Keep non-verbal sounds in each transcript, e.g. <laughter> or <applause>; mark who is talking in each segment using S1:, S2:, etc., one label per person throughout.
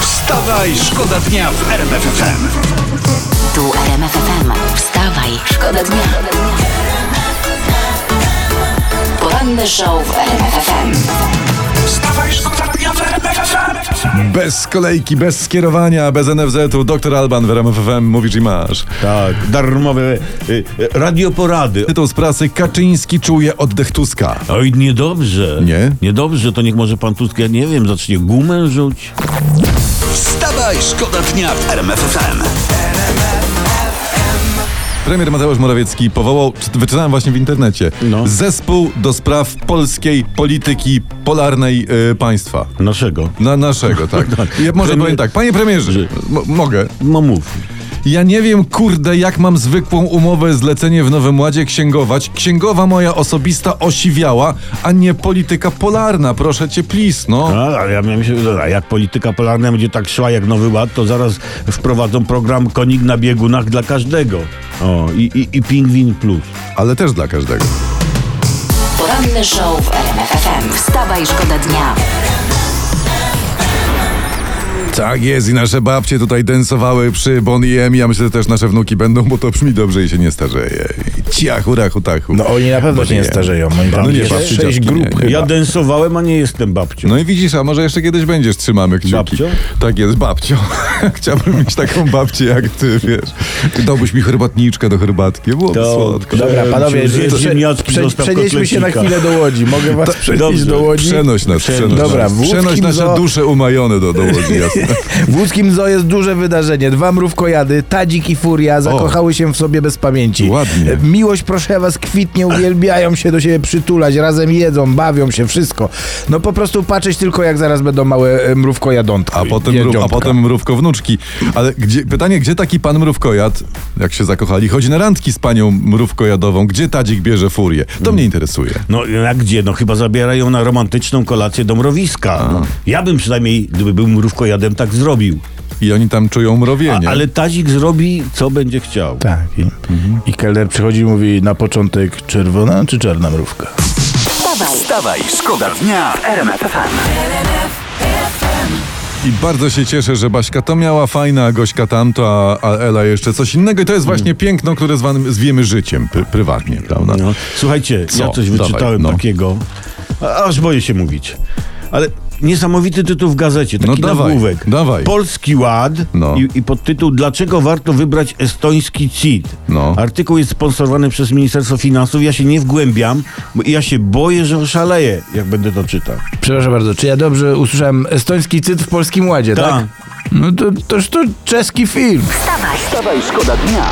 S1: Wstawaj, szkoda dnia w RMFFM.
S2: Tu RMF FM. Wstawaj, szkoda dnia. Poranny show w RMF FM.
S1: Wstawaj, szkoda dnia w RMFFM.
S3: Bez kolejki, bez skierowania, bez NFZ-u. Doktor Alban w RMF FM mówisz i masz.
S4: Tak, darmowe y, y, radioporady.
S3: Tytuł z prasy Kaczyński czuje oddech Tuska.
S4: Oj, niedobrze.
S3: Nie?
S4: Niedobrze, to niech może pan Tusk, ja nie wiem, zacznie gumę rzuć.
S1: Wstawaj, szkoda dnia w RMFFM.
S3: Premier Mateusz Morawiecki powołał, czy- wyczytałem właśnie w internecie,
S4: No.
S3: zespół do spraw polskiej polityki polarnej y, państwa.
S4: Naszego.
S3: Na naszego, tak.
S4: <laughs>
S3: Ja może
S4: Premier-
S3: powiem tak, panie premierze,
S4: Że-
S3: m- mogę.
S4: No mów.
S3: Ja nie wiem, kurde, jak mam zwykłą umowę zlecenie w Nowym Ładzie księgować. Księgowa moja osobista osiwiała, a nie polityka polarna, proszę cię, plis, no.
S4: A, ale ja miałem się, a jak polityka polarna będzie tak szła jak Nowy Ład, to zaraz wprowadzą program Konik na biegunach dla każdego. O, i, i, i Pingwin Plus.
S3: Ale też dla każdego.
S2: Poranny show w RMF FM. Wstawaj, szkoda dnia.
S3: Tak jest i nasze babcie tutaj densowały przy Bon i M. Ja myślę, że też nasze wnuki będą, bo to brzmi dobrze i się nie starzeje. Ciachu, rachu, tachu.
S5: No oni na pewno
S3: Bo
S5: się nie
S3: nie.
S5: starzeją. Oni tam
S3: No nie,
S5: jest
S3: babci,
S5: sześć
S3: dziadki,
S5: grup
S3: nie, nie.
S5: chyba.
S4: Ja densowałem, a nie jestem babcią.
S3: No i widzisz, a może jeszcze kiedyś będziesz, trzymamy kciuki.
S4: Babcią?
S3: Tak jest, babcią. <laughs> Chciałbym mieć taką babcię jak ty, wiesz. Dałbyś mi herbatniczkę do herbatki, byłoby
S4: To-
S3: słodko.
S4: to-
S5: Dobra, panowie,
S4: Zjedz
S5: prze-
S4: ziemniaczki,
S5: prze-
S4: zostaw
S5: przenieśmy się na
S4: kotlecika.
S5: chwilę do Łodzi. Mogę
S3: <laughs>
S5: was przenieść
S4: dobrze.
S5: do Łodzi?
S3: Przenoś nas, przenoś,
S5: Dobra,
S3: nas.
S5: w łódzkim
S3: przenoś nasze
S5: zoo-
S3: dusze umajone do, do Łodzi, jasne.
S5: W łódzkim zoo jest duże wydarzenie. Dwa mrówkojady, Tadzik i Furia, zakochały się w sobie bez pamięci.
S3: Ładnie.
S5: E, Miłość, proszę was, kwitnie, uwielbiają się do siebie przytulać, razem jedzą, bawią się, wszystko. No po prostu patrzeć tylko, jak zaraz będą małe e, mrówkojadątka.
S3: A potem, mru- a
S5: jedziątka.
S3: potem mrówko wnuczki. Ale gdzie, pytanie, gdzie taki pan mrówkojad, jak się zakochali, chodzi na randki z panią mrówkojadową? Gdzie Tadzik bierze furię? To mnie interesuje.
S4: No jak gdzie? No chyba zabierają na romantyczną kolację do mrowiska. No, ja bym przynajmniej, gdyby był mrówkojadem, tak zrobił.
S3: I oni tam czują
S4: A,
S3: mrowienie.
S4: ale Tazik zrobi, co będzie chciał.
S5: Tak. I,
S3: Mhm.
S5: I kelner przychodzi i mówi na początek czerwona czy czarna mrówka?
S2: Wstawaj,
S1: Wstawaj, szkoda dnia w RMFFM.
S3: I bardzo się cieszę, że Baśka to miała fajna, a Gośka tamto, a, a Ela jeszcze coś innego. I to
S4: Hmm.
S3: jest właśnie piękno, które zwan- zwiemy życiem pr- prywatnie, prawda?
S4: No. Słuchajcie,
S3: Co?
S4: ja coś
S3: Dawaj,
S4: wyczytałem
S3: no.
S4: takiego, a- aż boję się mówić. Ale niesamowity tytuł w gazecie, taki
S3: No dawaj,
S4: nagłówek.
S3: dawaj.
S4: Polski Ład
S3: No.
S4: i, i podtytuł Dlaczego warto wybrać estoński CIT?
S3: No.
S4: Artykuł jest sponsorowany przez Ministerstwo Finansów, ja się nie wgłębiam, bo ja się boję, że oszaleję, jak będę to czytał.
S3: Tak?
S5: Przepraszam bardzo, czy ja dobrze usłyszałem estoński cyt w Polskim Ładzie, tak?
S4: Tak.
S5: No to, toż to czeski film.
S2: wstawaj.
S1: Wstawaj, szkoda dnia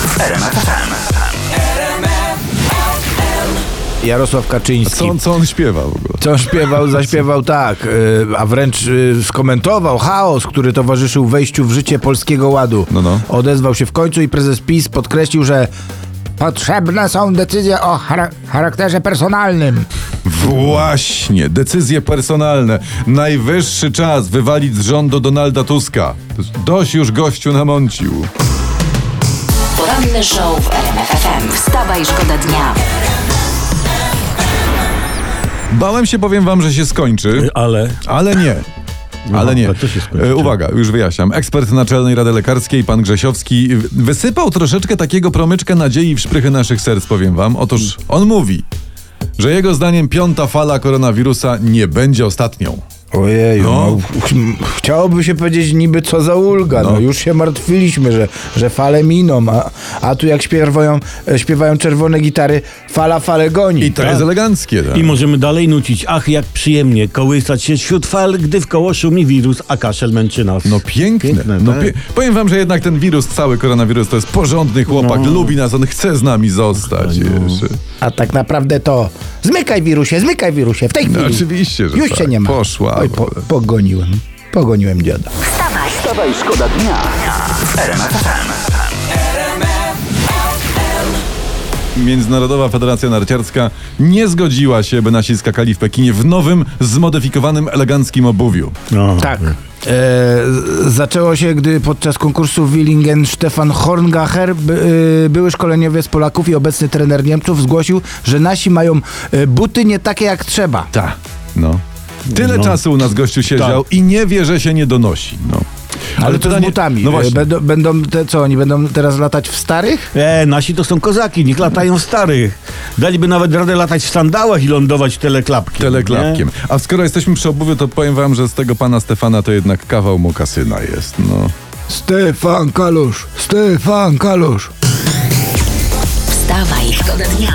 S1: w RMFFM.
S5: Jarosław Kaczyński.
S3: Co, on- co on śpiewa w ogóle?
S5: Co śpiewał, zaśpiewał tak, y, a wręcz y, skomentował chaos, który towarzyszył wejściu w życie Polskiego Ładu.
S3: No, no.
S5: Odezwał się w końcu i prezes PiS podkreślił, że potrzebne są decyzje o chara- charakterze personalnym.
S3: Właśnie, decyzje personalne. Najwyższy czas wywalić z rządu Donalda Tuska. Dość już gościu namącił.
S2: Poranny show w RMF FM. Wstawaj, szkoda dnia.
S3: Bałem się, powiem wam, że się skończy,
S4: Y, Ale... No,
S3: ale nie. Ale nie.
S4: a co się skończy?
S3: E, Uwaga, już wyjaśniam. Ekspert Naczelnej Rady Lekarskiej, pan Grzesiowski, w- wysypał troszeczkę takiego promyczka nadziei w szprychy naszych serc, powiem wam.
S4: Mm.
S3: Otóż on mówi, że jego zdaniem piąta fala koronawirusa nie będzie ostatnią.
S5: Ojej,
S3: No.
S5: no. ch- m- chciałoby się powiedzieć niby co za ulga. No, już się martwiliśmy, że, że fale miną, a, a tu jak śpiewają, e, śpiewają czerwone gitary, fala fale goni.
S3: I to jest eleganckie. Tak?
S4: I możemy dalej nucić. Ach, jak przyjemnie kołysać się wśród fal, gdy w koło szumi wirus, a kaszel męczy nas.
S3: No piękne.
S4: Piękne,
S3: no,
S4: tak.
S3: pie- powiem wam, że jednak ten wirus, cały koronawirus to jest porządny chłopak,
S4: No.
S3: lubi nas, on chce z nami zostać. jeszcze.
S5: A tak naprawdę to zmykaj wirusie, zmykaj wirusie, w tej chwili.
S3: No, oczywiście, że
S5: Już
S3: tak.
S5: się nie ma.
S3: Poszła.
S5: Oj, po, pogoniłem. Pogoniłem dziada.
S2: Wstawaj,
S1: Wstawaj, szkoda dnia w RMFFM.
S3: Międzynarodowa Federacja Narciarska nie zgodziła się, by nasi skakali w Pekinie w nowym, zmodyfikowanym, eleganckim obuwiu.
S4: No.
S5: Tak.
S3: Mhm.
S5: E, zaczęło się, gdy podczas konkursu w Willingen Stefan Horngacher, by, e, były szkoleniowiec Polaków i obecny trener Niemców, zgłosił, że nasi mają e, buty nie takie jak trzeba.
S3: Ta. No. Tyle
S4: No.
S3: czasu u nas gościu siedział i nie wie, że się nie donosi. No.
S5: Tak. Ale to z
S3: pytanie-
S5: butami. e,
S3: No właśnie.
S5: Będą, będą te co, oni będą teraz latać w starych?
S4: E, nasi to są kozaki, niech latają w starych. Daliby nawet radę latać w sandałach i lądować teleklapkiem. nie?
S3: Teleklapkiem. A skoro jesteśmy przy obuwiu, to powiem wam, że z tego pana Stefana to jednak kawał mokasyna jest. No.
S5: Stefan Kalusz, Stefan Kalusz.
S2: Wstawaj, szkoda dnia.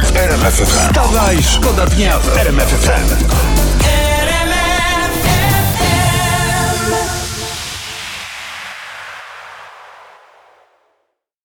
S1: Wstawaj, szkoda dnia w RMF FM.